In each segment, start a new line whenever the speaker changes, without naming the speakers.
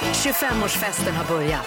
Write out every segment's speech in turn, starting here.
25-årsfesten har börjat.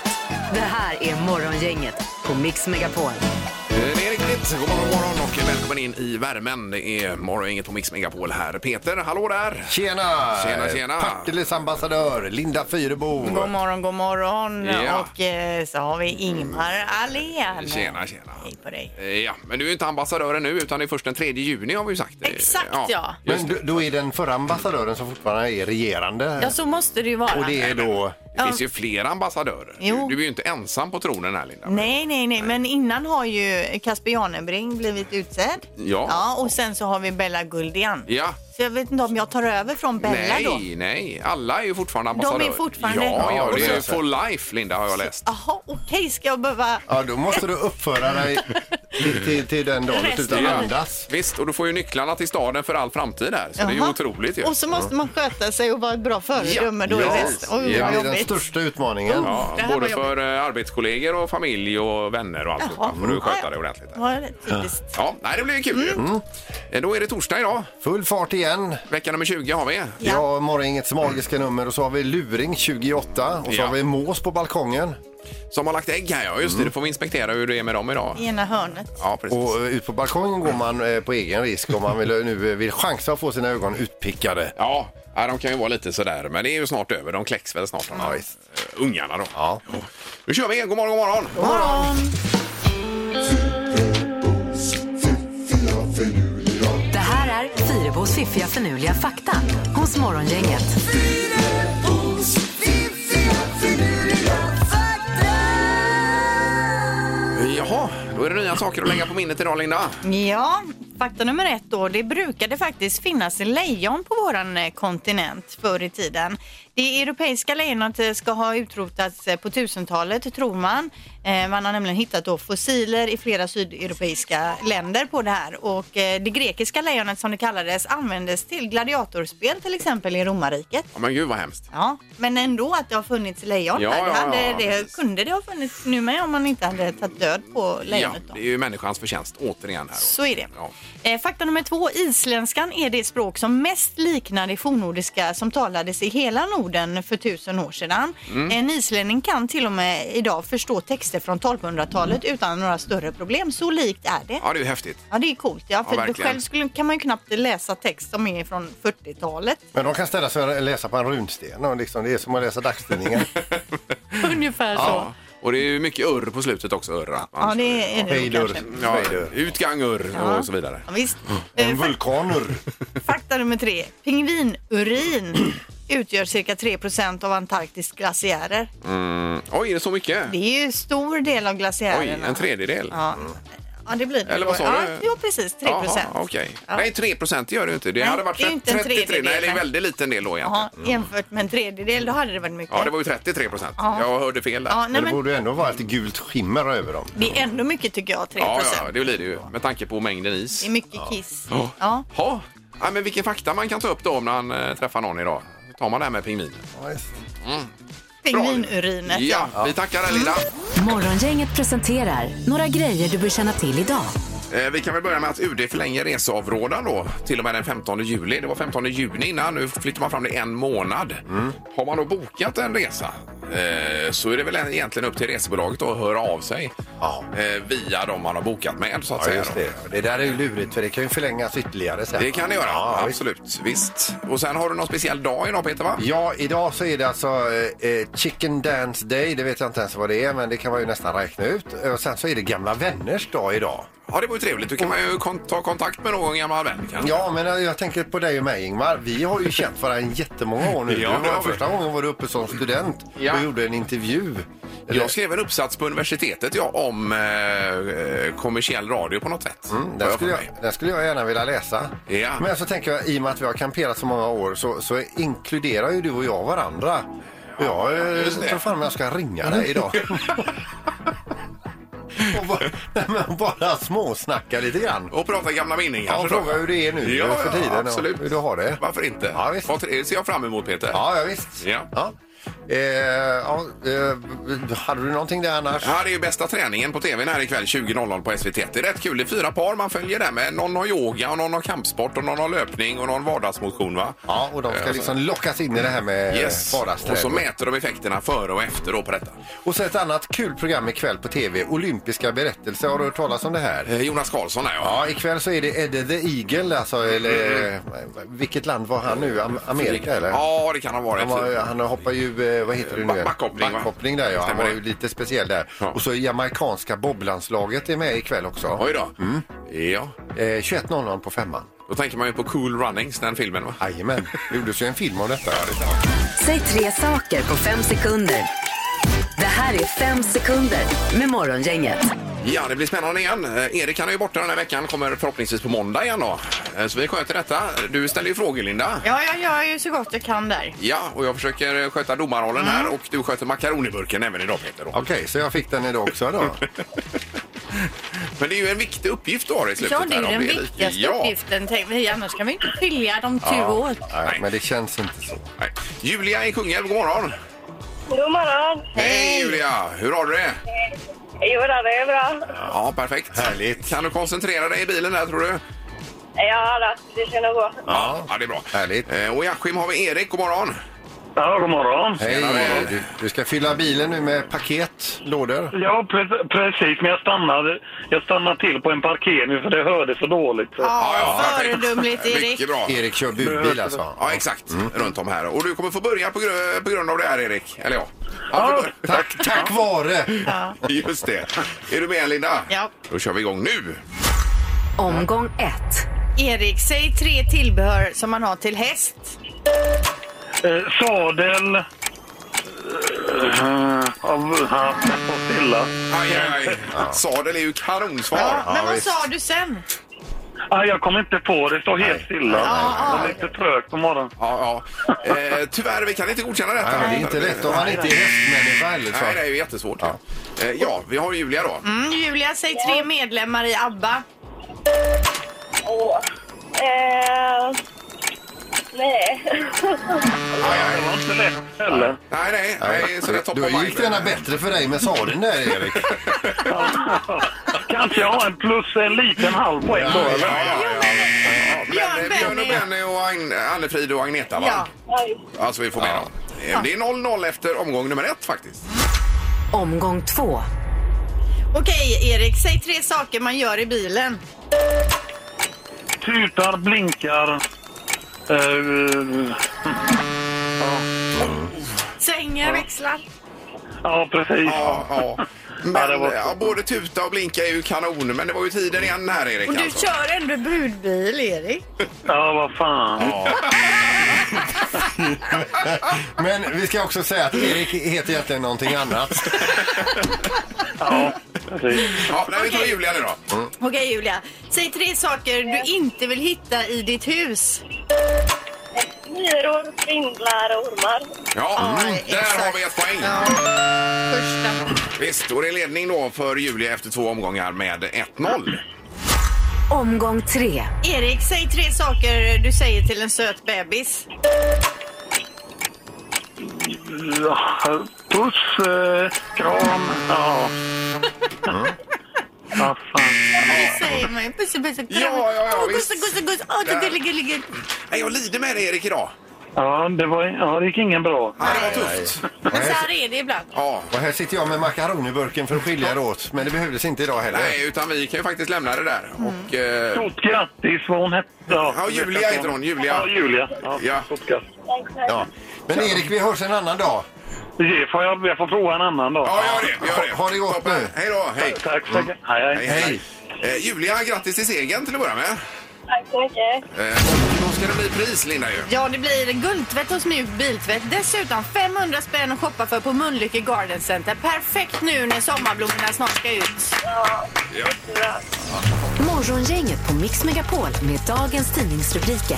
Det här är Morgongänget på Mix Megapol.
Eh, Det är riktigt. God morgon, morgon och välkommen in i värmen. Det är morgongänget på Mix Megapol här. Peter, hallå där!
Tjena!
Tjena, tjena.
Partilles ambassadör Linda Fyrebo.
God morgon, god morgon.
Ja.
Och eh, så har vi Ingmar Ahlén.
Tjena, tjena.
Hej på dig.
Eh, Ja, men du är inte ambassadören nu utan det är först den 3 juni har vi ju sagt. Eh,
Exakt, ja. Mm.
Men du- då är den förra ambassadören som fortfarande är regerande.
Ja, så måste det ju vara.
Och det är då...
Det finns ju flera ambassadörer.
Jo.
Du, du är ju inte ensam på tronen här Linda.
Nej, nej, nej, men innan har ju Casper Janebring blivit utsedd.
Ja.
Och sen så har vi Bella Guldian.
Ja.
Så jag vet inte om jag tar över från Bella då.
nej, nej. Alla är ju fortfarande ambassadörer.
fortfarande-
Ja, ja
Ja,
det är ju
precis.
for life Linda har jag läst.
Jaha, okej, ska jag behöva...
Ja, då måste du uppföra dig till, till, till den dagen du slutar
Resten.
andas.
Visst, och du får ju nycklarna till staden för all framtid här. Så det är ju
Jaha.
otroligt ju.
Och så måste man sköta sig och vara ett bra föredöme då
Ja.
i väst. Oj,
Det
Ja.
vad
blir den
jobbigt.
största utmaningen.
Ja,
Det här
både
var jobbigt.
för eh, arbetskollegor och familj och vänner och allt.
Jaha.
Jaha. får du
Ja,
sköta
ja. Mm.
dig ordentligt. där.
Var det typiskt.
Ja, nej, det blir ju kul ju. Eh, Då är det torsdag idag.
Full fart igen.
Vecka nummer 20 har vi.
Ja.
Ja, morgongängets magiska nummer och så har vi luring 28 och så
Ja.
har vi mås på balkongen
Som har lagt ägg här ja.
Mm.
Just det, då får vi inspektera hur det är med dem idag.
I ena hörnet.
Ja, precis.
och eh, ut på balkongen går man eh, på egen risk om man vill, nu eh, vill chansa att få sina ögon utpickade.
Ja, ja, de kan ju vara lite sådär. Men det är ju snart över. De kläcks väl snart. de här, eh, Ungarna då.
Ja.
Nu kör vi igen. God morgon, god morgon.
God morgon!
Det här är Fyrebos fiffiga förnuliga fakta hos Morgongänget.
Jaha, då är det nya saker att lägga på minnet idag Linda.
Ja, fakta nummer ett då. Det brukade faktiskt finnas lejon på våran eh, kontinent förr i tiden. Det europeiska lejonet eh, ska ha utrotats eh, på 1000-talet tror man. Eh, Man har nämligen hittat då fossiler i flera sydeuropeiska länder på det här och eh, det grekiska lejonet som det kallades användes till gladiatorspel till exempel i romarriket.
Ja, men gud vad hemskt.
Ja, men ändå att det har funnits lejon
Ja,
där.
ja,
Det, hade,
ja,
det
precis.
kunde det ha funnits nu med om man inte hade tagit död på
Ja,
lejonet. då.
det är ju människans förtjänst återigen här.
Så är det.
Ja.
Eh, Fakta nummer två. Isländskan är det språk som mest liknar det fornnordiska som talades i hela Norden för tusen år sedan.
Mm.
En islänning kan till och med idag förstå texter från 1200-talet utan några större problem. Så likt är det.
Mm. Ja, det är ju häftigt.
Ja, det är coolt. Ja, för
verkligen.
själv skulle, kan man ju knappt läsa text som är från 40-talet.
Men de kan ställa sig och läsa på en runsten. Och liksom, det är som att läsa dagstidningen.
Ungefär
Mm. Ja. Och det är ju mycket urr på slutet också. Urr. att man-
Ja, det är det
Hej
nog
dörr,
kanske.
Ja,
hej dörr.
utgang, urr och så vidare.
Ja, visst. Eh,
En
Mm.
fak-
vulkanur.
Fakta nummer tre. Pingvinurin utgör cirka 3 av Antarktis glaciärer.
Oj, är det så mycket?
Det är ju stor del av
Oj,
glaciärerna.
en tredjedel?
Ja. ja, det blir det.
Eller vad sa
ja,
du?
Jo, precis. 3 procent.
Jaha, okej.
Ja.
Nej, 3 procent det gör det ju inte. Det
Nej,
hade varit
det är ju inte en
33. Nej,
tredjedel,
det är en
nej.
väldigt liten del då egentligen.
Ja, jämfört med en tredjedel, då hade det varit mycket.
Mm. Ja, det var ju 33 procent.
Ja.
Jag hörde fel där.
Ja, nej,
Men det
men
borde ju ändå vara ett gult skimmer över dem.
det är ändå mycket tycker jag, 3
Ja,
procent.
ja, det blir det ju med tanke på mängden is.
Det är mycket kiss.
Ja.
Ja.
Ja. ja, men vilken fakta man kan ta upp då om man eh, träffar någon idag. Då tar man det här med pingvin.
Pingvinurinet.
Ja, vi tackar dig Linda.
Morgongänget presenterar några grejer du bör känna till idag.
Eh, Vi kan väl börja med att UD förlänger reseavrådan då till och med den 15 juli. Det var 15 juni innan, nu flyttar man fram det en månad. Har man då bokat en resa eh, så är det väl egentligen upp till resebolaget då att höra av sig
Ja.
eh, via de man har bokat med så att
Ja,
säga.
just
då.
det. Det där är ju lurigt för det kan ju förlängas ytterligare sen.
Det kan det göra,
Ja, visst.
absolut. Visst. Och sen har du någon speciell dag idag Peter va?
Ja, idag så är det alltså eh, eh, Chicken Dance Day. Det vet jag inte ens vad det är, men det kan man ju nästan räkna ut. Eh, Och sen så är det Gamla Vänners dag idag.
Ja, det var ju trevligt. Då kan man ju kon- ta kontakt med någon gammal vän kanske.
Ja, men eh, jag tänker på dig och mig, Ingmar. Vi har ju känt varandra i jättemånga år nu.
Ja,
Du
det har
var
vi.
första gången var du uppe som student
Ja.
och gjorde en intervju. Eller-
Jag skrev en uppsats på universitetet ja, om eh, eh, kommersiell radio på något sätt.
Mm,
Har
Den
jag
skulle,
för mig.
jag, den skulle jag gärna vilja läsa.
Ja.
Men så tänker jag, i och med att vi har kamperat så många år så, så inkluderar ju du och jag varandra. Och jag eh,
just det.
tror fan om jag ska ringa dig idag. och bara, nej, men bara småsnacka lite grann.
Och prata gamla minnen
Ja,
kanske då.
fråga hur det är nu eh,
ja,
för tiden
Ja,
och
absolut.
hur du har det.
Varför inte?
Ja, visst.
Vad tre- ser jag fram emot Peter.
Ja, ja visst.
Ja.
Ja. Eh, ja, eh, hade du någonting där annars?
Ja, det är ju bästa träningen på tvn här ikväll 20.00 på SVT. Det är rätt kul. Det är fyra par man följer där med. Någon har yoga och någon har kampsport och någon har löpning och någon vardagsmotion va?
Ja, och de ska
Eh,
liksom lockas in i det här med
Yes.
yes.
Och så mäter de effekterna före och efter då på detta.
Och så ett annat kul program ikväll på tv, Olympiska berättelser. Har du hört talas om det här?
Eh, Jonas Karlsson här ja.
Ja, ikväll så är det Eddie the Eagle, alltså, eller eh, vilket land var han nu? Am- Amerika eller?
Ja, det kan ha varit.
Han, var, han hoppar ju, eh, vad heter det nu? igen?
Backhoppning, va?
Backhoppning där ja. Han
Stämmer
var
det.
ju lite speciell där.
Ja.
Och så jamaicanska boblandslaget är med ikväll också.
Oj då.
Mm.
Ja.
Eh, 21.00 på femman.
Då tänker man ju på Cool Runnings, den filmen va?
Jajamän, det gjordes ju en film om detta.
Säg tre saker på fem sekunder. Det här är fem sekunder med Morgongänget.
Ja, det blir spännande igen. Eh, Erik han är ju borta den här veckan, kommer förhoppningsvis på måndag igen då. Eh, Så vi sköter detta. Du ställer ju frågor Linda.
Ja, jag gör ju så gott jag kan där.
Ja, och jag försöker eh, sköta domarrollen
Mm.
här och du sköter makaroniburken även idag Peter. Då.
Okej, så jag fick den idag också då.
Men det är ju en viktig uppgift du har i slutet.
Ja, det är
här,
ju
om
den
lika.
viktigaste uppgiften. Tänk, vi- annars kan vi inte skilja de två åt.
Nej, men det känns inte så.
Nej. Julia i Kungälv, god morgon!
God morgon!
Hej Julia! Hur har du det?
Jo, då, det är bra.
Ja, perfekt.
Härligt.
Kan du koncentrera dig i bilen där tror du?
Ja, då, det ska nog gå.
Ja, ja det är bra.
Härligt.
Eh, Och i Askim har vi Erik, god morgon!
Ja, god morgon.
Hej, du, du ska fylla bilen nu med paket, lådor.
Ja, pre- precis. Men jag stannade, jag stannade till på en parkering för det hörde så dåligt. Så.
Ja,
perfekt.
föredömligt Erik.
Mycket bra.
Erik kör budbil alltså.
Ja, exakt. Runt om här. Och du kommer få börja på, gr- på grund av det här, Erik. Eller ja.
Ja.
du bör-
Tack, tack vare!
Just det. Är du med, Linda?
Ja.
Då kör vi igång nu.
Omgång ett.
Erik, säg tre tillbehör som man har till häst.
Eh, sadel... Eh, av, ja, och stilla.
Aj, aj, aj. Sadel är ju kanonsvar.
Ja, men vad
visst.
sa du sen?
Ah, jag kommer inte på det. står helt stilla.
nej,
Jag är lite trög på morgonen.
Ja, ja. Eh, tyvärr, vi kan inte godkänna detta.
Nej, men det är inte lätt om man inte är hästmänniska eller
Nej, det
så.
är ju jättesvårt. Ja, eh, ja vi har Julia då.
Mm, Julia, säg tre medlemmar i ABBA.
Åh. Eh, nej.
Det var inte lätt heller.
Nej, nej, nej så det är top
Du
of
har
mind.
gick denna bättre för dig med sadeln där Erik.
Kanske jag har en plus en liten halv på en
Ja, ja,
dag.
ja, ja. Ja,
Björn,
Björn, Björn och
Benny.
Benny och Agn- Anne-Frid och Agneta, va?
Ja.
Oj.
Alltså, vi får med dem. Eh, Det är 0-0 efter omgång nummer ett faktiskt.
Omgång två.
Okej Erik, säg tre saker man gör i bilen.
Tutar, blinkar... Eh,
Svänger, växlar.
ja, precis.
Ja, ja. Men,
Ja, det var-
ja, både tuta och blinka är ju kanon, men det var ju tiden igen här Erik.
Och du
alltså.
kör ändå budbil Erik.
Ja, vad fan.
Men vi ska också säga att Erik heter egentligen någonting annat.
Ja, precis.
Ja, nej, vi tar
Okej.
Julia nu då.
Okej Julia, säg tre saker du inte vill hitta i ditt hus.
Myror, spindlar och ormar.
Ja,
Ja,
mm, där
exakt.
har vi ett poäng.
Ja. Första.
Visst, och det är ledning då för Julia efter två omgångar med 1-0.
Omgång tre.
Erik, säg tre saker du säger till en söt bebis.
Ja, Puss, eh, kram. Ja. Vad fan.
Det säger man ju. Puss, puss, kram.
Ja, ja, ja,
Åh, gusse,
visst.
gusse, gusse. Åh, du
Där.
gullig, gullig, gullig.
Nej, jag lider med dig Erik idag.
Ja, det, var, ja, det gick ingen bra.
Ja, det var tufft.
Men så här är det ibland.
Ja.
Och här sitter jag med makaroniburken för att skilja det åt. Men det behövdes inte idag heller.
Nej, utan vi kan ju faktiskt lämna det där. Och, eh,
Stort grattis, vad hon hette.
Ja, Julia heter hon, Julia.
Ja, Julia. Ja,
Ja.
Stort grattis.
Tack, tack.
Ja. Men Erik, vi hörs en annan dag.
Det får jag, jag får prova en annan dag.
ja, gör det. Gör det.
Ha- ha det gott
Toppen.
nu.
Hej då. Hej.
Tack så mycket. Hej, hej.
Hej. Eh, Julia, grattis till segern till att börja med.
Tack så mycket.
Eh, och då ska det bli pris, Linda. Ju.
Ja, det blir guldtvätt hos Mjuk Biltvätt. Dessutom 500 spänn att shoppa för på Mölnlycke Garden Center. Perfekt nu när sommarblommorna snart ska ut.
Ja,
Ja.
bra.
Morgongänget på Mix Megapol med dagens tidningsrubriker.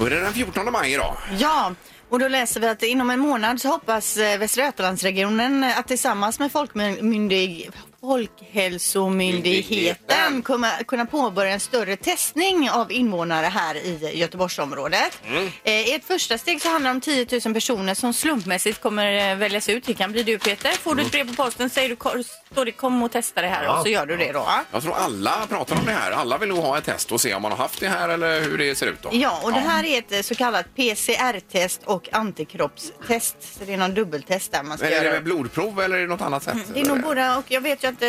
Och är det den 14 maj idag?
Ja, och då läser vi att eh, inom en månad så hoppas eh, Västra Götalandsregionen att tillsammans med Folkmyndig... Folkhälsomyndigheten
Myndigheten.
kunna, kunna påbörja en större testning av invånare här i Göteborgsområdet.
Mm.
Eh, I ett första steg så handlar det om 10 000 personer som slumpmässigt kommer eh, väljas ut. Det kan bli du Peter. Får du ett
Mm.
brev på posten säger du ko- står det kom och testa det här och så gör du det då.
Jag tror alla pratar om det här. Alla vill nog ha ett test och se om man har haft det här eller hur det ser ut. Då.
Ja, och det här är ett eh, så kallat PCR-test och antikroppstest. Så det är någon dubbeltest där man ska
Men är det
göra.
med blodprov eller är det något annat sätt?
Mm, Det är nog båda och jag vet ju att eh,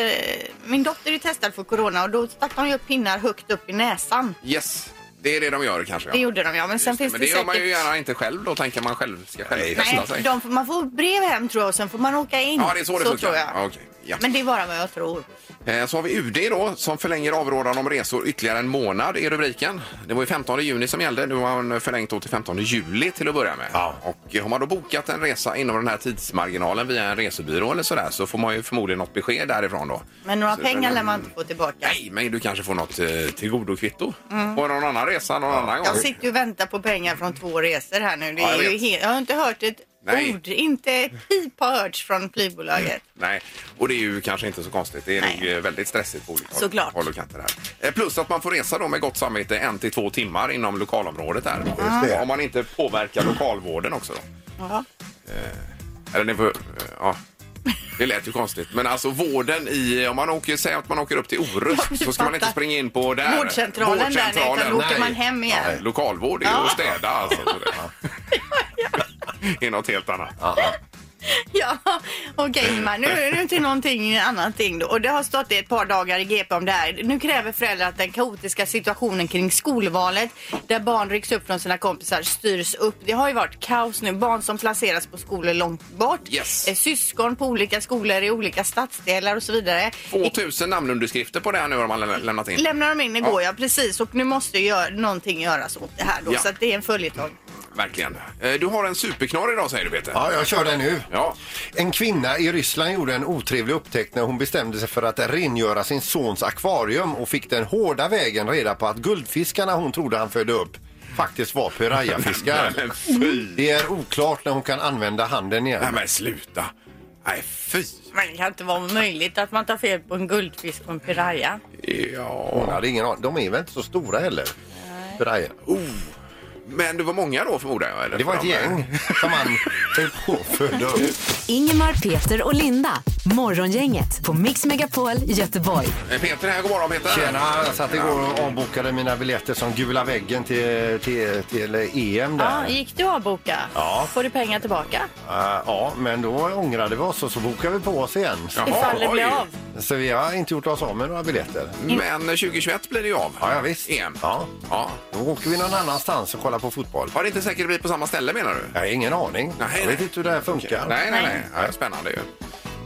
min dotter är testad för corona och då stack de ju upp pinnar högt upp i näsan.
Yes, det är det de gör kanske. ja.
Det gjorde de ja, men sen
Just
finns
Men
det,
det gör
säkert...
man ju gärna inte själv då, tänker man själv ska själv testa
Nej,
sig.
de, får- man får brev hem tror jag och sen får man åka in.
Ja, det är så det funkar.
tror jag.
Ja, okej. Ja.
Men det är bara vad jag tror.
Eh, Så har vi UD då som förlänger avrådan om resor ytterligare en månad i rubriken. Det var ju 15 juni som gällde. Nu har man förlängt då till 15 juli till att börja med.
Ja.
Och eh, har man då bokat en resa inom den här tidsmarginalen via en resebyrå eller sådär så får man ju förmodligen något besked därifrån då.
Men några
Så-
pengar lär man inte få tillbaka.
Nej, men du kanske får något eh, tillgodokvitto på någon annan resa någon annan gång.
Jag sitter ju och väntar på pengar från två resor här nu. Det
Ja,
är
jag
jag, ju
vet.
helt... jag har inte hört ett
Nej.
ord, inte ett pip har hörts från flygbolaget.
Nej, och det är ju kanske inte så konstigt. Det är
Nej.
nog eh, väldigt stressigt på olika
Såklart.
håll och kanter. Här. Eh, Plus att man får resa då med gott samvete en till två timmar inom lokalområdet här.
det.
Om man inte påverkar lokalvården också då. Mm.
Ja.
Eller ni får, eh, ja. Det lät ju konstigt, men alltså vården i, om man åker, säg att man åker upp till
Ja,
Orust
du
så ska man inte
fattar.
springa in på där.
Vårdcentralen där, nej, utan då åker man hem igen.
Nej, Lokalvård är ju
Ja.
att städa alltså. Så det- Det är något helt annat.
Ja, okej Ingmar. Nu, nu till någonting annat ting då. Och det har stått i ett par dagar i GP om det här. Nu kräver föräldrar att den kaotiska situationen kring skolvalet där barn rycks upp från sina kompisar styrs upp. Det har ju varit kaos nu. Barn som placeras på skolor långt bort.
Yes.
Eh, Syskon på olika skolor i olika stadsdelar och så vidare.
2000 namnunderskrifter på det här nu har man lä- lämnat in.
Lämnar de in igår,
Ja.
ja. precis. Och nu måste ju gör, någonting göras åt det här då.
Ja.
Så att det är en följetong.
Verkligen. Eh, Du har en superknorr idag säger du Peter.
Ja, jag kör den nu.
Ja.
En kvinna i Ryssland gjorde en otrevlig upptäckt när hon bestämde sig för att rengöra sin sons akvarium och fick den hårda vägen reda på att guldfiskarna hon trodde han födde upp faktiskt var
Nej,
pirajafiskar.
men fy!
Det är oklart när hon kan använda handen igen.
Nej men sluta! Nej fy!
Men det kan inte vara möjligt att man tar fel på en guldfisk och en piraya.
Ja.
Hon hade ingen aning. De är väl inte så stora heller? Pirajan.
Oh. Men det var många då förmodar jag? Eller?
Det var ett
De-
gäng som han höll på och födde upp.
Ingemar, Peter och Linda. Morgongänget på Mix Megapol Göteborg.
Eh, Peter här, god morgon Peter!
Tjena, jag satt igår och avbokade mina biljetter som gula väggen till, till, till EM där.
Ja, gick du att boka?
Ja.
Får du pengar tillbaka?
Eh, ja, men då ångrade vi oss och så bokade vi på oss igen.
Jaha,
Ifall det
oj.
blir av.
Så vi har inte gjort oss av med några biljetter.
Men 2021 blir det ju av.
Ja, ja visst.
EM.
Ja.
Ja.
Då åker vi någon annanstans och kollar på fotboll.
Har det inte säkert blivit på samma ställe menar du?
Jag har ingen aning.
Nej,
jag vet
nej.
inte hur det här funkar.
Nej, nej, nej.
Nej.
Ja, spännande ju.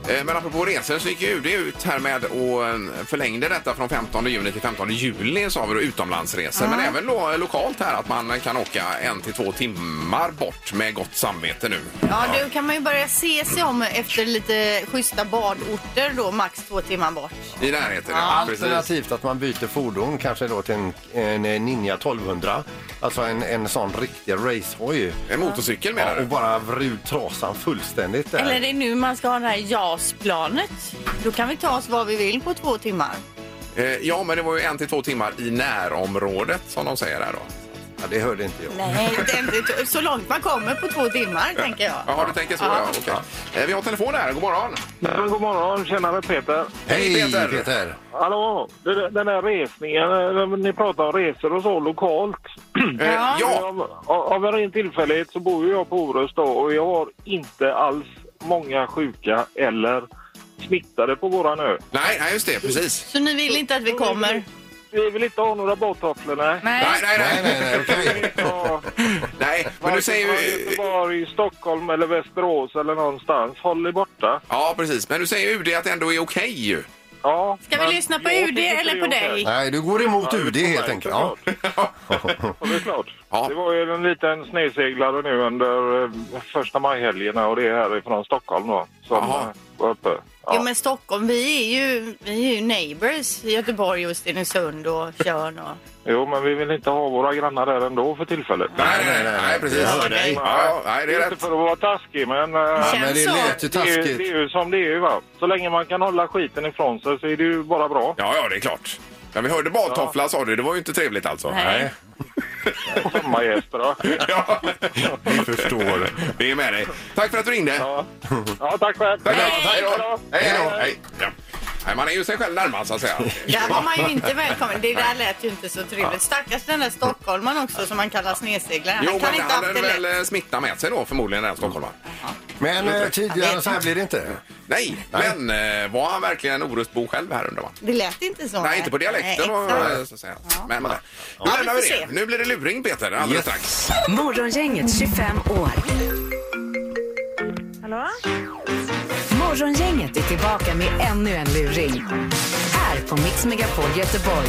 Eh, Men apropå resor så gick ju UD ut här med och eh, förlängde detta från 15 juni till 15 juli sa vi då, utomlandsresor. Men även då eh, lokalt här att man kan åka en till två timmar bort med gott samvete nu.
Ja, då kan man ju börja se sig om efter lite schyssta badorter då, max två timmar bort.
I närheten. Ja, precis.
Alternativt att man byter fordon, kanske då till en, en Ninja 1200. Alltså en, en sån riktig racehoj.
En motorcykel menar
Ja, och
du?
bara vrud trasan fullständigt där.
Eller är det nu man ska ha det här JAS-planet? Då kan vi ta oss var vi vill på två timmar.
Eh, Ja, men det var ju en till två timmar i närområdet som de säger här då.
Ja, det hörde inte jag.
Nej, inte, inte, så långt man kommer på två timmar, tänker jag.
Ja, du tänker så ja. Okej. Eh, Vi har telefon här. God morgon!
Men god morgon, tjenare Peter.
Hej
Hej, Peter.
Peter!
Hallå! Det- Den här resningen, eh, ni pratar om resor och så lokalt.
Eh,
Ja.
ja.
Av, av en ren tillfällighet så bor ju jag på Orust då och jag har inte alls många sjuka eller smittade på våran ö.
Nej, nej, just det. Precis.
Så ni vill inte att vi kommer?
Vi vill inte ha några badtofflor, nej.
Nej, nej,
Nej,
nej.
nej, nej. okej.
Ja,
nej. Men du säger ju...
Göteborg, Stockholm eller Västerås eller någonstans. Håll er borta.
Ja, precis. Men du säger ju UD att det ändå är okej ju.
Ja.
Ska vi
men
lyssna på
jag
UD
tycker
eller
det
på
är okej.
dig?
Nej, du går emot UD helt
Nej,
enkelt. Ja.
Ja.
Ja, det är klart.
Ja.
Det var ju en liten sneseglare nu under eh, första majhelgen och det är härifrån Stockholm då.
som
Jaha.
eh, var uppe. Ja.
Jo men Stockholm, vi är ju, vi är ju neighbors i Göteborg och Stenungsund och Tjörn och...
Jo, men vi vill inte ha våra grannar där ändå för tillfället.
Nej, nej, nej, nej precis.
Ja,
nej.
nej.
Ja, ja, nej, det är
Inte
rätt.
för att vara taskig, men... eh,
Ja, men det
Känns så.
lät ju
det är, ju,
taskigt.
det är ju som det är, va. Så länge man kan hålla skiten ifrån sig så är det ju bara bra.
Ja, ja, det är klart. Men vi hörde badtoffla sa du, det var ju inte trevligt alltså.
Nej.
Sommargäster, va.
Ja,
Vi förstår.
vi är med dig. Tack för att du ringde.
Ja. ja, tack själv.
Tack, tack.
Hej.
Hej då. Hej då. Hej. Ja. Nej, man är ju sig själv närmast så att säga.
Där var man ju inte välkommen. Det där lät ju inte så trevligt. Stackars den där stockholmaren också som man kallar sneseglare.
Jo,
Han kan
men
inte
han
haft
hade
det
väl
lätt.
eh, smitta med sig då förmodligen den här stockholmaren.
Men eh, tidigare så här blir det inte.
Nej,
Nej.
men eh, var han verkligen orustbo själv här undrar man?
Det lät inte så.
Nej, inte på dialekten.
Nej,
och,
exakt.
eh, så att säga. Men, men. Nu
Ja, vi
lämnar vi
får
det.
se.
Nu blir det luring, Peter, alldeles strax.
Morgongänget 25 år.
Hallå?
Morgongänget är tillbaka med ännu en luring. Här på Mix Megapol Göteborg.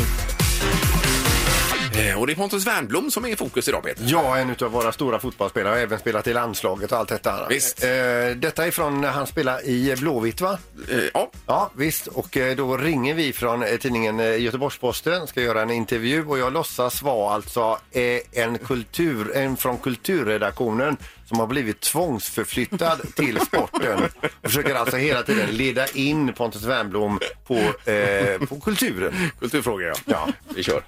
Eh, Och det är Pontus Wernbloom som är i fokus idag, Peter.
Ja, en av våra stora fotbollsspelare. Har även spelat i landslaget och allt detta.
Visst.
Eh, detta är från när han spelade i Blåvitt, va?
Eh, Ja,
Ja, visst. Och eh, då ringer vi från eh, tidningen eh, Göteborgs-Posten, ska göra en intervju och jag låtsas vara alltså eh, en, kultur, en från kulturredaktionen som har blivit tvångsförflyttad till sporten. Och försöker alltså hela tiden leda in Pontus Wernbloom på, eh, på kulturen.
kulturfrågor, ja.
Ja.
Vi kör.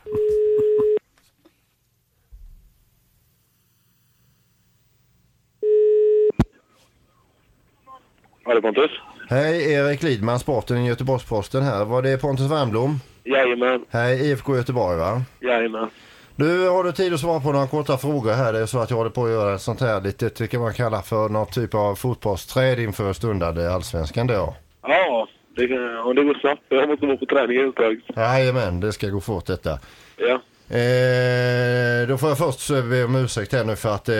Hallå Pontus?
Hej, Erik Lidman, sporten i Göteborgs-Posten här. Var det Pontus Wernbloom?
Jajamän,
Hej, IFK Göteborg va?
jajamän.
Du, har du tid att svara på några korta frågor här? Det är så att jag håller på att göra ett sånt här litet, det kan man kalla för någon typ av fotbollsträd inför stundande allsvenskan då.
Ja, det, kan- och det går snabbt. Jag måste vara på träningen helt strax.
Jajamän, det ska gå fort detta.
Ja.
Eh, då får jag först eh, be om ursäkt här nu för att eh,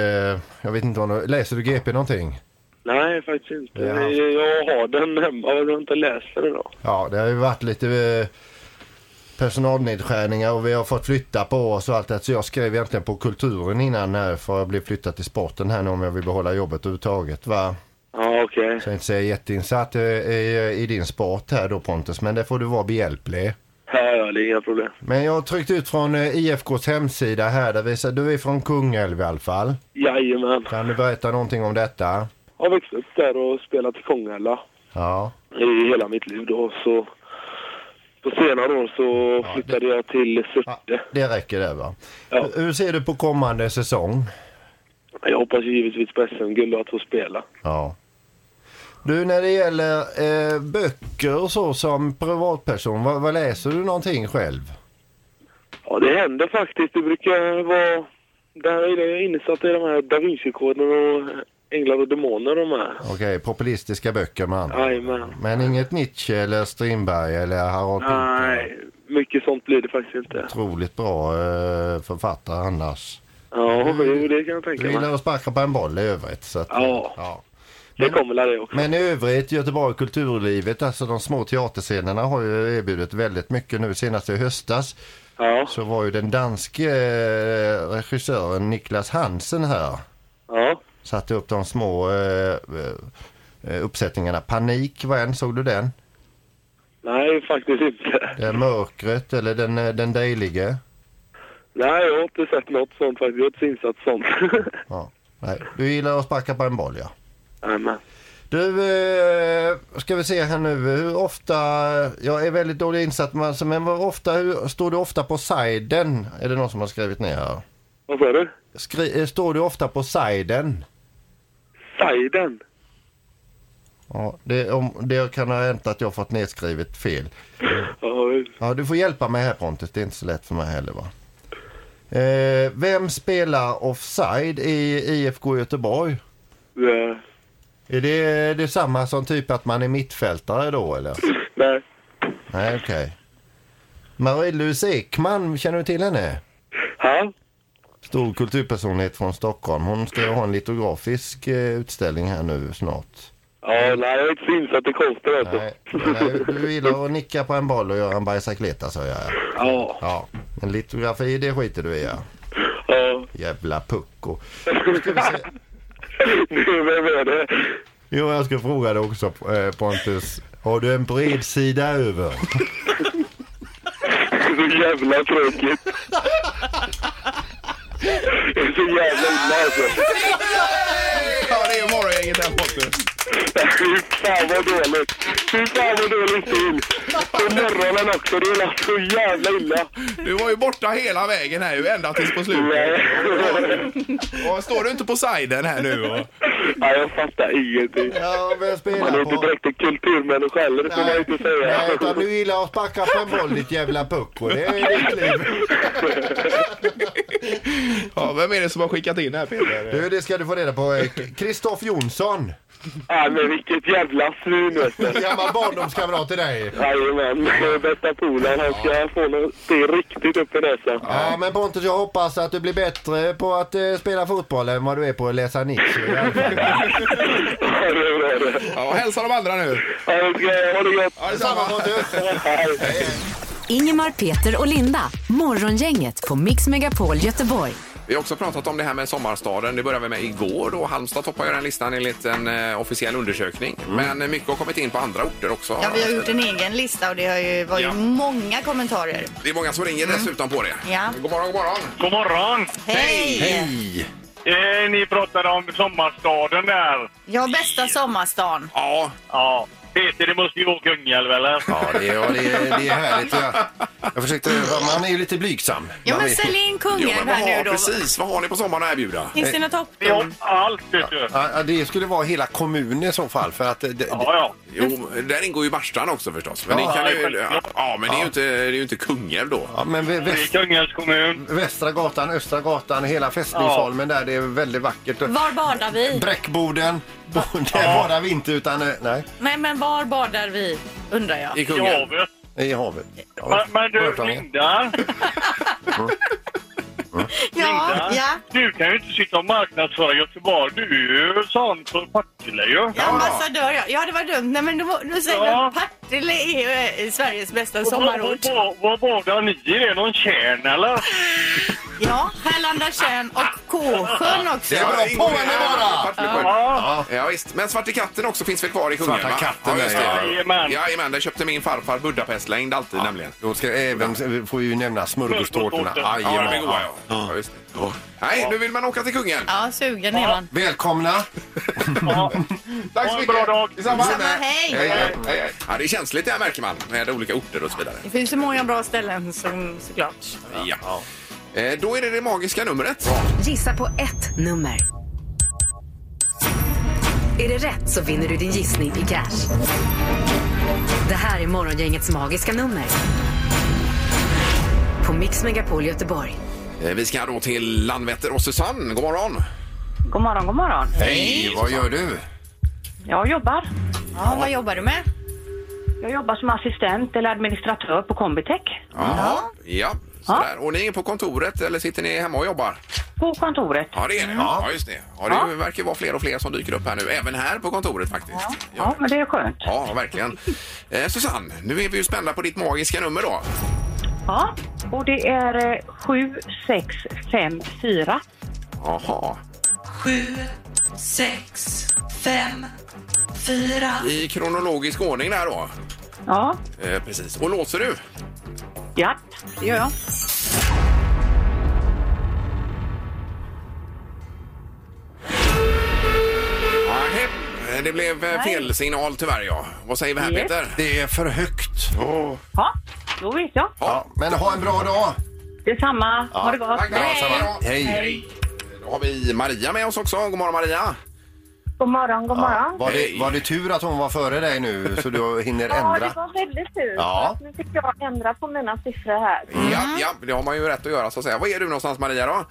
jag vet inte om du, läser du GP någonting?
Nej, faktiskt inte.
Ja.
Jag har den hemma, men jag har inte läst den idag.
Ja, det har ju varit lite eh, personalnedskärningar och vi har fått flytta på oss och allt det Så jag skrev egentligen på kulturen innan här för att bli flyttad till sporten här nu om jag vill behålla jobbet överhuvudtaget va.
Ja, okej.
Så jag är inte så jätteinsatt eh, i, i din sport här då Pontus, men det får du vara behjälplig.
Ja, ja, det är inga problem.
Men jag har tryckt ut från eh, IFKs hemsida här, där visar, du är från Kungälv i alla fall.
Jajamän.
Kan du berätta någonting om detta?
Jag har växt upp där och spelat i Kongälva
Ja,
i hela mitt liv då. Så på senare år så flyttade jag till Surte.
det räcker det va.
Ja.
Hur ser du på kommande säsong?
Jag hoppas ju givetvis på SM-guld och att få spela.
Ja. Du, när det gäller eh, böcker och så som privatperson, vad, vad läser du någonting själv?
Ja, det händer faktiskt. Det brukar vara... Där är jag insatt i de här Da Vinci-koden och Änglar och Demoner de här.
Okej, populistiska böcker med andra.
Jajamän.
Men inget Nietzsche eller Strindberg eller Harold Pinter?
Nej, mycket sånt blir det faktiskt inte.
Otroligt bra eh, författare annars.
Ja, jo, det kan
Du
jag tänka
gillar
mig.
att sparka på en boll i övrigt. Så att,
Ja.
ja.
Det kommer väl det också.
Men i övrigt, Göteborg kulturlivet, alltså de små teaterscenerna har ju erbjudit väldigt mycket nu. Senast i höstas
Ja,
så var ju den danske eh, regissören Niklas Hansen här.
ja.
satte upp de små eh, eh, uppsättningarna. Panik var en, såg du den?
Nej, faktiskt inte.
Det är mörkret eller den, eh, den dejlige?
Nej, jag har inte sett något sånt faktiskt. Jag är inte så insatt i sånt.
Ja. Nej, du gillar att sparka på en boll ja.
Jajamän.
Du, eh, ska vi se här nu. Hur ofta, jag är väldigt dålig insatt men alltså, men hur ofta, hur, står du ofta på siden? Är det någon som har skrivit ner här?
Vad sa du?
Skri, eh, står du ofta på siden?
Sajden?
Ja, det, om, det kan ha hänt att jag fått nedskrivet fel.
Ja,
Ja, du får hjälpa mig här Pontus. Det är inte så lätt för mig heller va. Eh, vem spelar offside i IFK Göteborg?
eh,
Är det detsamma som typ att man är mittfältare då eller?
nej.
Nej, okej. Marie-Louise Ekman, känner du till henne?
Ja,
Stor kulturpersonlighet från Stockholm. Hon ska ju ha en litografisk eh, utställning här nu snart.
ja nej, jag är inte så insatt i konsten alltså.
Nej, nej, du gillar att nicka på en boll och göra en bajsakleta sa jag. ja.
Ja,
Ja, en litografi det skiter du i ja.
ja.
Jävla pucko.
Nu, Vem är det?
Jo, jag ska fråga dig också eh, Pontus. Har du en bredsida över?
Så jävla tråkigt. Det är så jävla illa alltså.
Ja, det är ju morgongänget här Pontus.
Fy fan vad dåligt. Fy fan vad dålig stil. På morgonen också. Det är lagt så jävla illa.
Du var ju borta hela vägen här ju, ända tills på slutet.
Nej.
Och står du inte på sidan här nu? Och...
Nej, jag fattar ingenting.
Ja, vem
Man är
spelar
inte direkt en kulturmänniska heller, det får man inte
Nej,
säga.
utan du gillar att sparka på en boll ditt jävla pucko. Det är ditt liv.
Ja, vem är det som har skickat in det här Peter?
Du, det ska du få reda på. Eh, Kristoff Jonsson.
Nej, men vilket jävla svin vet du.
Gammal barndomskamrat till dig.
Jajamän, bästa polaren han ska få något det är riktigt upp i näsan.
Ja, men Pontus, jag hoppas att du blir bättre på att eh, spela fotboll än vad du är på att läsa Nietzsche. i alla fall.
Ja, det är bra det.
Ja, hälsa de andra nu.
Ja, det ska- Ha det gött.
Ja,
Detsamma Pontus!
Hej.
Ingemar, Peter och Linda. Morgongänget på Mix Megapol Göteborg.
Vi har också pratat om det här med sommarstaden. Det började vi med igår då. Halmstad toppar ju den listan enligt en eh, officiell undersökning. Men mycket har kommit in på andra orter också.
Ja, vi har gjort en egen lista och det har ju, var ju
Ja.
många kommentarer.
Det är många som ringer dessutom på det.
Mm. Ja.
God morgon, god morgon.
God morgon!
Hej!
Hej!
Eh, ni pratade om sommarstaden där.
Ja, bästa sommarstan.
Ja,
Ja. Peter, det måste ju vara Kungälv, eller?
Ja, det är, ja, det är, det är härligt. Jag, jag försökte, man är ju lite blygsam.
Ja,
Man
men
är-
sälj in
jo,
Kungälv
men vad
här
har,
nu då.
precis. Vad har ni på sommaren att erbjuda?
Finns det något
Vi har
topptorn?
allt, vet du.
Ja, ja, det skulle vara hela kommunen i så fall. För att, det, det,
Ja, ja.
Jo, där ingår ju Barstan också förstås. Men det, kan ju,
självklart.
ja, men det är ju inte, det är ju inte Kungälv då.
ja, men vä-
Det är
väst,
Kungälvs kommun.
Västra gatan, Östra gatan, hela Fästningsholmen där. Det är väldigt vackert.
Var badar vi?
Bräckboden, där badar vi inte utan eh, nej,
Nej, men var badar vi? Undrar jag.
I
I
Kungälv.
havet.
i havet. Ja,
Men, men du,
Rötången.
Linda.
Ja, ja.
Du kan ju inte sitta och marknadsföra Göteborg. Du är ju sån för Partille ju.
Ja, ambassadör ja. Ja, det var dumt. Nej, men då, då säger
Ja.
du att Partille är ju eh, Sveriges bästa
Och vad-
sommarort.
vad- vad- Vad badar ni i? Är det någon tjärn eller?
Ja, Härlanda tjärn och Kåsjön också.
Ja,
bra.
ingår-
Påminner bara!
Partille kommun.
Ja.
Ja, visst. Men Svarte katten också finns väl kvar i Kungälv?
Svarta
va?
katten,
ja, just
ja,
det.
ja. Jajamän.
Jajamän, där köpte min farfar Budapestlängd alltid nämligen.
Då ska även, får vi ju nämna smörgåstårtorna.
Smörgåstårta.
Ja, de är
Jajamän.
goda ja. ja just det. Nej, nu vill man åka till Kungälv.
Ja, sugen är man.
Välkomna!
Ja.
Tack
Ha
så
en
mycket.
bra dag.
Detsamma.
Samma, hej.
Hej, hej, hej. Ja, det är känsligt det här märker man med olika orter och så vidare.
Det finns ju många bra ställen som, såklart.
Ja. Eh, Då är det det magiska numret.
Gissa på ett nummer. Är det rätt så vinner du din gissning i cash. Det här är morgongängets magiska nummer. På Mix Megapol Göteborg.
Eh, Vi ska då till Landvetter och Susanne. God morgon.
God morgon, god morgon.
Hej, vad gör du?
Jag jobbar.
Ja, vad jobbar du med?
Jag jobbar som assistent eller administratör på Combitech.
Ja. ja. Sådär. Och ni är på kontoret eller sitter ni hemma och jobbar?
På kontoret.
Ja, det är ni. Ja, just det. Ja, det verkar vara fler och fler som dyker upp här nu. Även här på kontoret faktiskt.
Ja, men det är skönt.
Ja, verkligen. Eh, Susanne, nu är vi ju spända på ditt magiska nummer då.
Ja, och det är eh, 7654.
Jaha.
Sex, fem, fyra.
I kronologisk ordning där då.
Ja,
Eh, precis. Och låser du?
ja.
Det gör jag.
Nej, det blev eh, fel signal tyvärr ja. Vad säger vi här
Yes.
Peter?
Det är för högt.
Ja, då vet jag.
Ja, men ha en bra dag!
Detsamma. Ha det gott.
Tack, hej. Samma.
Hej.
Då har vi Maria med oss också. God morgon Maria!
God morgon, god morgon.
Var
Hej.
det, var det tur att hon var före dig nu så du hinner
Ja, det
ändra?
var väldigt tur.
Ja.
Nu fick jag ändra på mina siffror här.
Ja, ja, det har man ju rätt att göra så att säga. Var är du någonstans Maria då?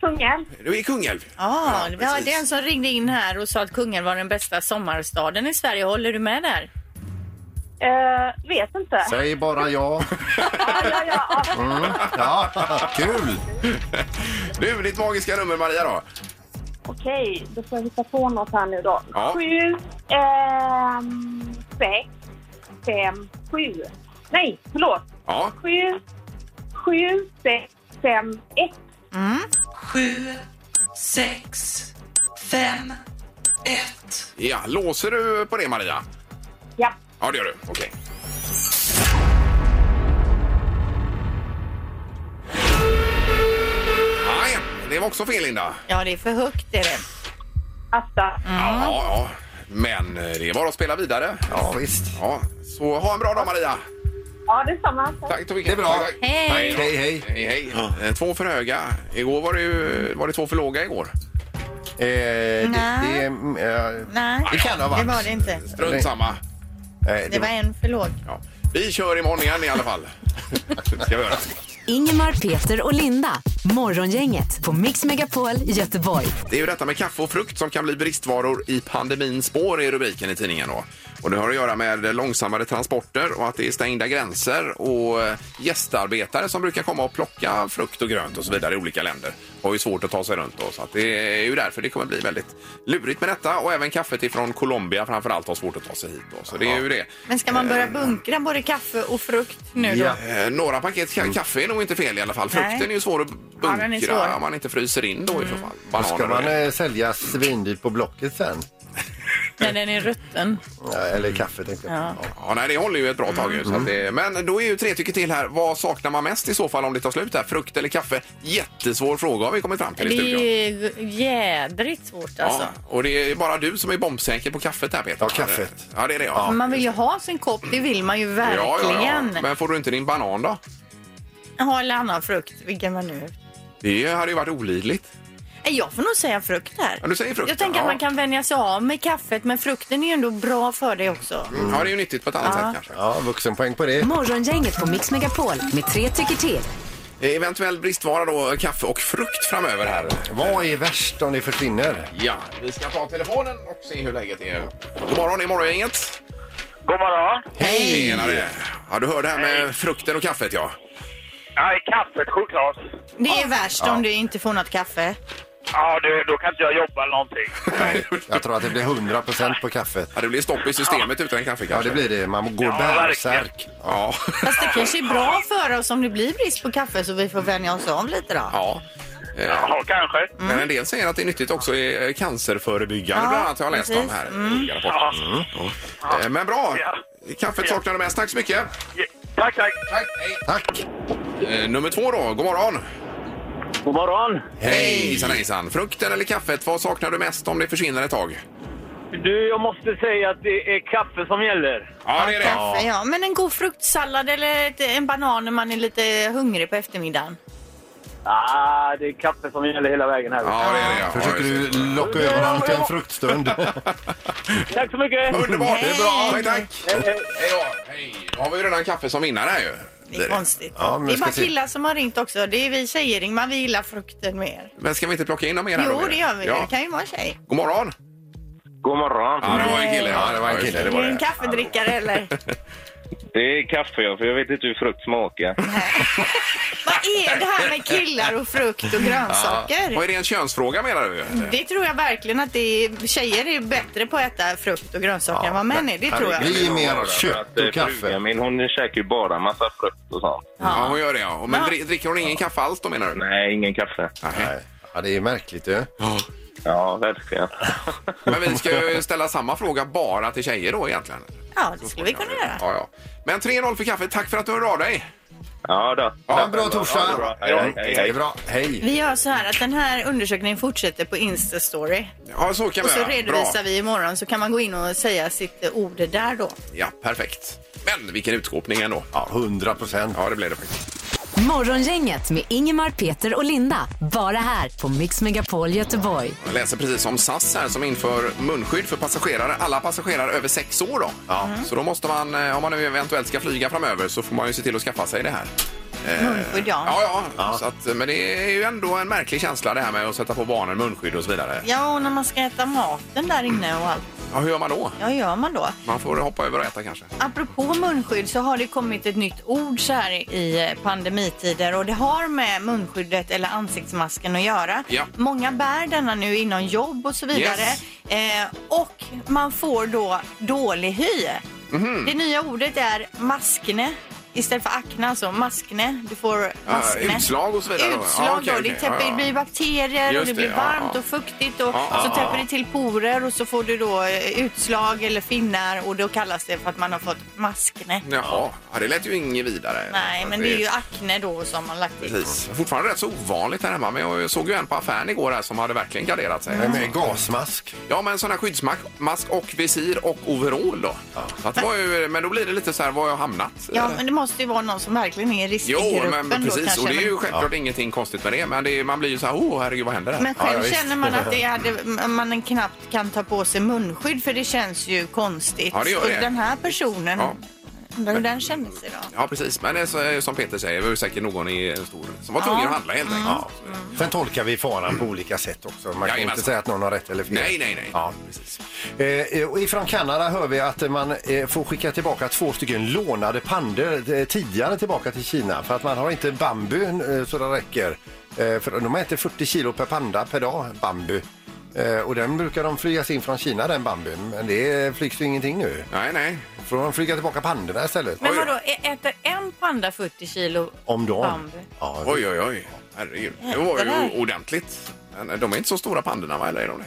Kungälv.
Du är i Kungälv.
Ja, vi
precis.
hade en som ringde in här och sa att Kungälv var den bästa sommarstaden i Sverige. Håller du med där?
Eh, vet inte.
Säg bara ja. Mm.
Ja, ja, ja. Ah, ja.
Ja, kul!
Du, ditt magiska nummer Maria då?
Okej, då får jag hitta på något här nu då.
Ja.
Sju, ehm, sex, fem, sju. Nej, förlåt.
Ja.
Sju, sju, sex, fem, ett.
Sju, sex, fem,
ett. Ja, låser du på det Maria?
Ja.
Ja, det gör du. Okej. Nej, det var också fel Linda.
Ja, det är för högt är det.
Asta.
Ja, ja. Men eh, det är bara att spela vidare.
Ja, visst.
Ja, så ha en bra dag Maria.
Ja, detsamma.
Tack Tobicke. Det är bra.
Hej.
Hej, hej.
Hej, hej. Eh, Två för höga. Igår var det ju, var det två för låga igår.
Eh, det, det, är, mm, eh,
Nej,
det kan ha
det
varit.
var det inte.
Strunt samma.
Eh,
Det var en för låg.
Ja. Vi kör imorgon igen i alla fall. Det Ska vi göra.
Ingemar, Peter och Linda. Morgongänget på Mix Megapol Göteborg.
Det är ju detta med kaffe och frukt som kan bli bristvaror i pandemins spår i rubriken i tidningen. Då. Och det har att göra med långsammare transporter och att det är stängda gränser och eh, gästarbetare som brukar komma och plocka frukt och grönt och så vidare i olika länder. Har ju svårt att ta sig runt då. Så att det är ju därför det kommer bli väldigt lurigt med detta och även kaffet ifrån Colombia framförallt har svårt att ta sig hit. Då. Så det är ju det.
Men ska man börja bunkra både kaffe och frukt nu då?
Ja.
Eh, några paket ka- kaffe är nog inte fel i alla fall.
Mm. Nej.
Frukten är ju svår att
Ja, den är
bunkra
svår.
om man inte fryser in då i så fall. Bananer
Ska
och
man
det.
eh, sälja svindyrt på Blocket sen?
Men den är rutten.
Ja, eller kaffe tänkte jag. Ja.
Ja, nej, det håller ju ett bra tag.
Mm.
ju, Så att det, men då är ju tre tycker till här. Vad saknar man mest i så fall om det tar slut? här? Frukt eller kaffe? Jättesvår fråga har vi kommit fram
Det
till i
är
studion.
ju jädrigt svårt alltså.
Ja, och det är bara du som är bombsäker på kaffet här Peter.
Ja, kaffet.
Ja, det är det. Ja.
Man vill ju ha sin kopp, det vill man ju
Ja, ja, ja.
verkligen.
Men får du inte din banan då?
Ha eller annan frukt, vilken man nu
Det hade ju varit olidligt.
Nej, Jag får nog säga frukt här.
Ja, du säger frukt,
Jag tänker
ja.
att man kan vänja sig av med kaffet, men frukten är ju ändå bra för dig också.
Mm.
Ja, det är ju nyttigt på ett annat sätt kanske.
ja, vuxenpoäng på
Mm.
det.
Morgongänget på Mix Megapol med tre tycker till.
Eh, Eventuell bristvara då, kaffe och frukt framöver här.
Vad är värst om det försvinner?
Ja, vi ska ta telefonen och se hur läget är. God morgon, det är Morgongänget.
God morgon.
Hej! Tjenare! Ja, du hörde här med frukten och kaffet ja.
Nej, kaffet, choklad.
Det är värst om du inte får något kaffe.
Ja, du, då kan inte jag jobba eller någonting.
Jag tror att det blir 100% på kaffet.
Ja, det blir stopp i systemet utan kaffe
Ja,
kanske.
det blir det. Man går
Ja,
bärsärk.
Ja.
Fast det kanske är bra för oss om det blir brist på kaffe så vi får vänja oss av lite då.
ja. Eh,
Ja, kanske.
Men en del säger att det är nyttigt också i eh, cancerförebyggande
Ja,
bland annat. Jag har läst om
precis.
här i olika rapporter. Mm. Eh, Men bra!
Ja.
Kaffet
Ja.
saknar du mest. Tack så mycket!
Tack, tack.
Tack!
Tack!
Eh, Nummer två då, god morgon!
God morgon.
Hej! Hejsan hejsan! Frukten eller kaffet, vad saknar du mest om det försvinner ett tag?
Du, jag måste säga att det är kaffe som gäller.
Ja, det är det.
Kaffe, ja. Men en god fruktsallad eller ett- en banan när man är lite hungrig på eftermiddagen.
Ah, det är kaffe som gäller hela vägen här.
Ja, det är det. Ja,
Försöker
just det.
du locka över honom till en fruktstund?
Tack så mycket.
Underbart!
Det är bra.
Tack, tack!
Hej, hej.
Hej då! Hej! Då har vi ju redan kaffe som vinnare här ju.
Det är konstigt.
Ja, men
det är
jag ska
bara
se.
killar som har ringt också. Det är vi tjejer, Ingmar. Vi gillar frukten mer.
Men ska vi inte plocka in dem mer? här
Jo,
då?
det gör vi.
Ja.
Det kan ju vara en tjej.
God morgon!
God morgon.
Ja, det var en kille. Ja, det var en
Ja, just
kille.
det.
Det
Är
var
du en
det.
kaffedrickare eller?
Det är kaffe, ja, för jag vet inte hur frukt smakar.
Vad är det här med killar och frukt och grönsaker?
Och är det en könsfråga menar du?
Det tror jag verkligen att det är, tjejer är bättre på att äta frukt och grönsaker än vad män är. Det tror jag.
Vi är mer kött och
Frugan
kaffe.
Min hon käkar ju bara massa frukt och sånt.
Ja, hon gör det ja. Och Men
Ja.
dri- dricker hon ingen kaffe alls då menar du?
Nej, ingen kaffe.
Nej, Ja, det är märkligt ju.
Ja, verkligen.
Men vi ska ju ställa samma fråga bara till tjejer då egentligen.
Ja, det skulle vi kunna göra.
Ja, ja. Men 3-0 för kaffet. Tack för att du hörde av dig.
Ja, då.
Ha en bra
Ja, det är
torsdag!
bra. Hej, hej,
Det är
hej.
bra. Hej!
Vi gör så här att den här undersökningen fortsätter på Insta-story.
Ja, så kan
Och
vi
så
göra.
redovisar vi imorgon så kan man gå in och säga sitt eh, ord där då.
Ja, perfekt. Men vilken utskåpning ändå.
Ja, 100 procent.
Ja, det blev det faktiskt.
Morgongänget med Ingemar, Peter och Linda. Bara här på Mix Megapol Göteborg.
Jag läser precis om SAS här som inför munskydd för passagerare. Alla passagerare över sex år då.
Mm.
Så då måste man, eh, om man nu eventuellt ska flyga framöver, så får man ju se till att skaffa sig det här.
Munskydd ja.
Eh, Ja, ja. Så att, men det är ju ändå en märklig känsla det här med att sätta på barnen munskydd och så vidare.
Ja, och när man ska äta maten där inne och allt.
Ja, hur gör man då?
Ja, gör man då?
Man får hoppa över och äta kanske.
Apropå munskydd så har det kommit ett nytt ord så här i eh, pandemitider och det har med munskyddet eller ansiktsmasken att göra.
Ja.
Många bär denna nu inom jobb och så vidare
Yes.
eh, och
Mhm.
man får då dålig hy. Det nya ordet är maskne. istället för akne alltså maskne. Du får
Ja,
maskne.
Ah, utslag och så vidare då. Ja,
Utslag
okej,
då.
okej. Ah,
Det, täpper,
Ja, ja.
det blir bakterier och
Just
det blir
det, ja,
varmt
ja.
och fuktigt och
Ja, ja,
så täpper
ja.
det till porer och så får du då eh, utslag eller finnar och då kallas det för att man har fått maskne.
Jaha, ja, det lät ju inget vidare.
Nej, men det är ju akne då som man lagt till.
Precis. Fortfarande rätt så ovanligt här hemma, men jag såg ju en på affären igår här som hade verkligen garderat sig.
Mm.
Med gasmask.
Ja, men sån här skyddsmask mask och visir och overall då. Så att det var ju, men då blir det lite så här, var har jag hamnat? Eh,
Ja, men det måste ju vara någon som verkligen är i riskgruppen
Jo, men
då
precis.
kanske.
Och det är ju
men-
självklart ingenting konstigt med det. Men det är, man blir ju så här, åh herregud vad händer här?
Men
Ja,
själv
ja, visst.
känner man att det hade, man knappt kan ta på sig munskydd för det känns ju konstigt.
Ja, det gör
och
det.
den här personen,
Ja.
undrar hur den känner sig då?
Ja, precis. Men det är så- som Peter säger, det var ju säkert någon i en stor som var
Ja.
tvungen att handla helt enkelt.
Ja. Sen tolkar vi faran på olika sätt också. Man kan ju
Mm. Jajamensan.
inte säga att någon har rätt eller fel.
Nej, nej, nej.
Ja.
Precis.
Eh, eh, och ifrån Kanada hör vi att eh, man eh, får skicka tillbaka två stycken lånade pandor eh, tidigare tillbaka till Kina för att man har inte bambu eh, så det räcker. Eh, för de äter 40 kilo per panda per dag, bambu. Eh, och den brukar de flygas in från Kina den bambun. Men det flygs ju ingenting nu.
Nej, nej.
Får de flyga tillbaka pandorna istället?
Men vadå, ä- äter en panda 40 kilo
Om dagen.
bambu?
Ja,
Oj, oj, oj. Herregud. Det var
Jävlar.
ju ordentligt. Men eh, de är inte så stora pandorna, va? Eller är de det?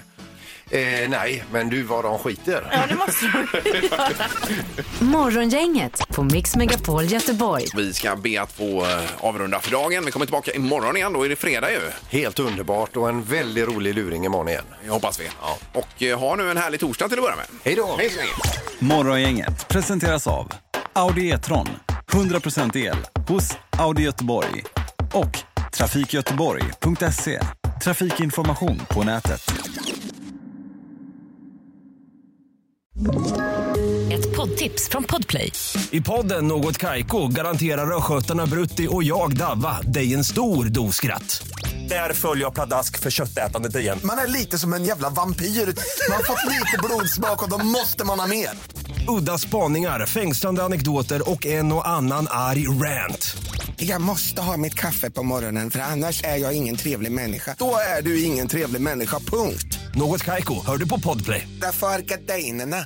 eh, nej, men du vad de skiter.
Ja, det måste
Morgongänget på Mix Megapol Göteborg.
Vi ska be att få eh, avrunda för dagen. Vi kommer tillbaka imorgon igen. Då är det fredag ju.
Helt underbart och en väldigt rolig luring imorgon igen.
Jag hoppas vi. Och eh, ha nu en härlig torsdag till att börja med.
Hej då!
Hej så länge.
Morgongänget presenteras av Audi E-tron. 100% el hos Audi Göteborg. Och trafikgöteborg.se. Trafikinformation på nätet.
Ett poddtips från Podplay.
I podden Något Kaiko garanterar östgötarna Brutti och jag, Davva, dig en stor dos skratt. Där följer jag pladask för köttätandet igen.
Man är lite som en jävla vampyr. Man har fått lite blodsmak och då måste man ha mer.
Udda spaningar, fängslande anekdoter och en och annan arg rant.
Jag måste ha mitt kaffe på morgonen för annars är jag ingen trevlig människa. Då är du ingen trevlig människa, punkt.
Något Kaiko, hör du på Podplay.
Därför arkadeinerna.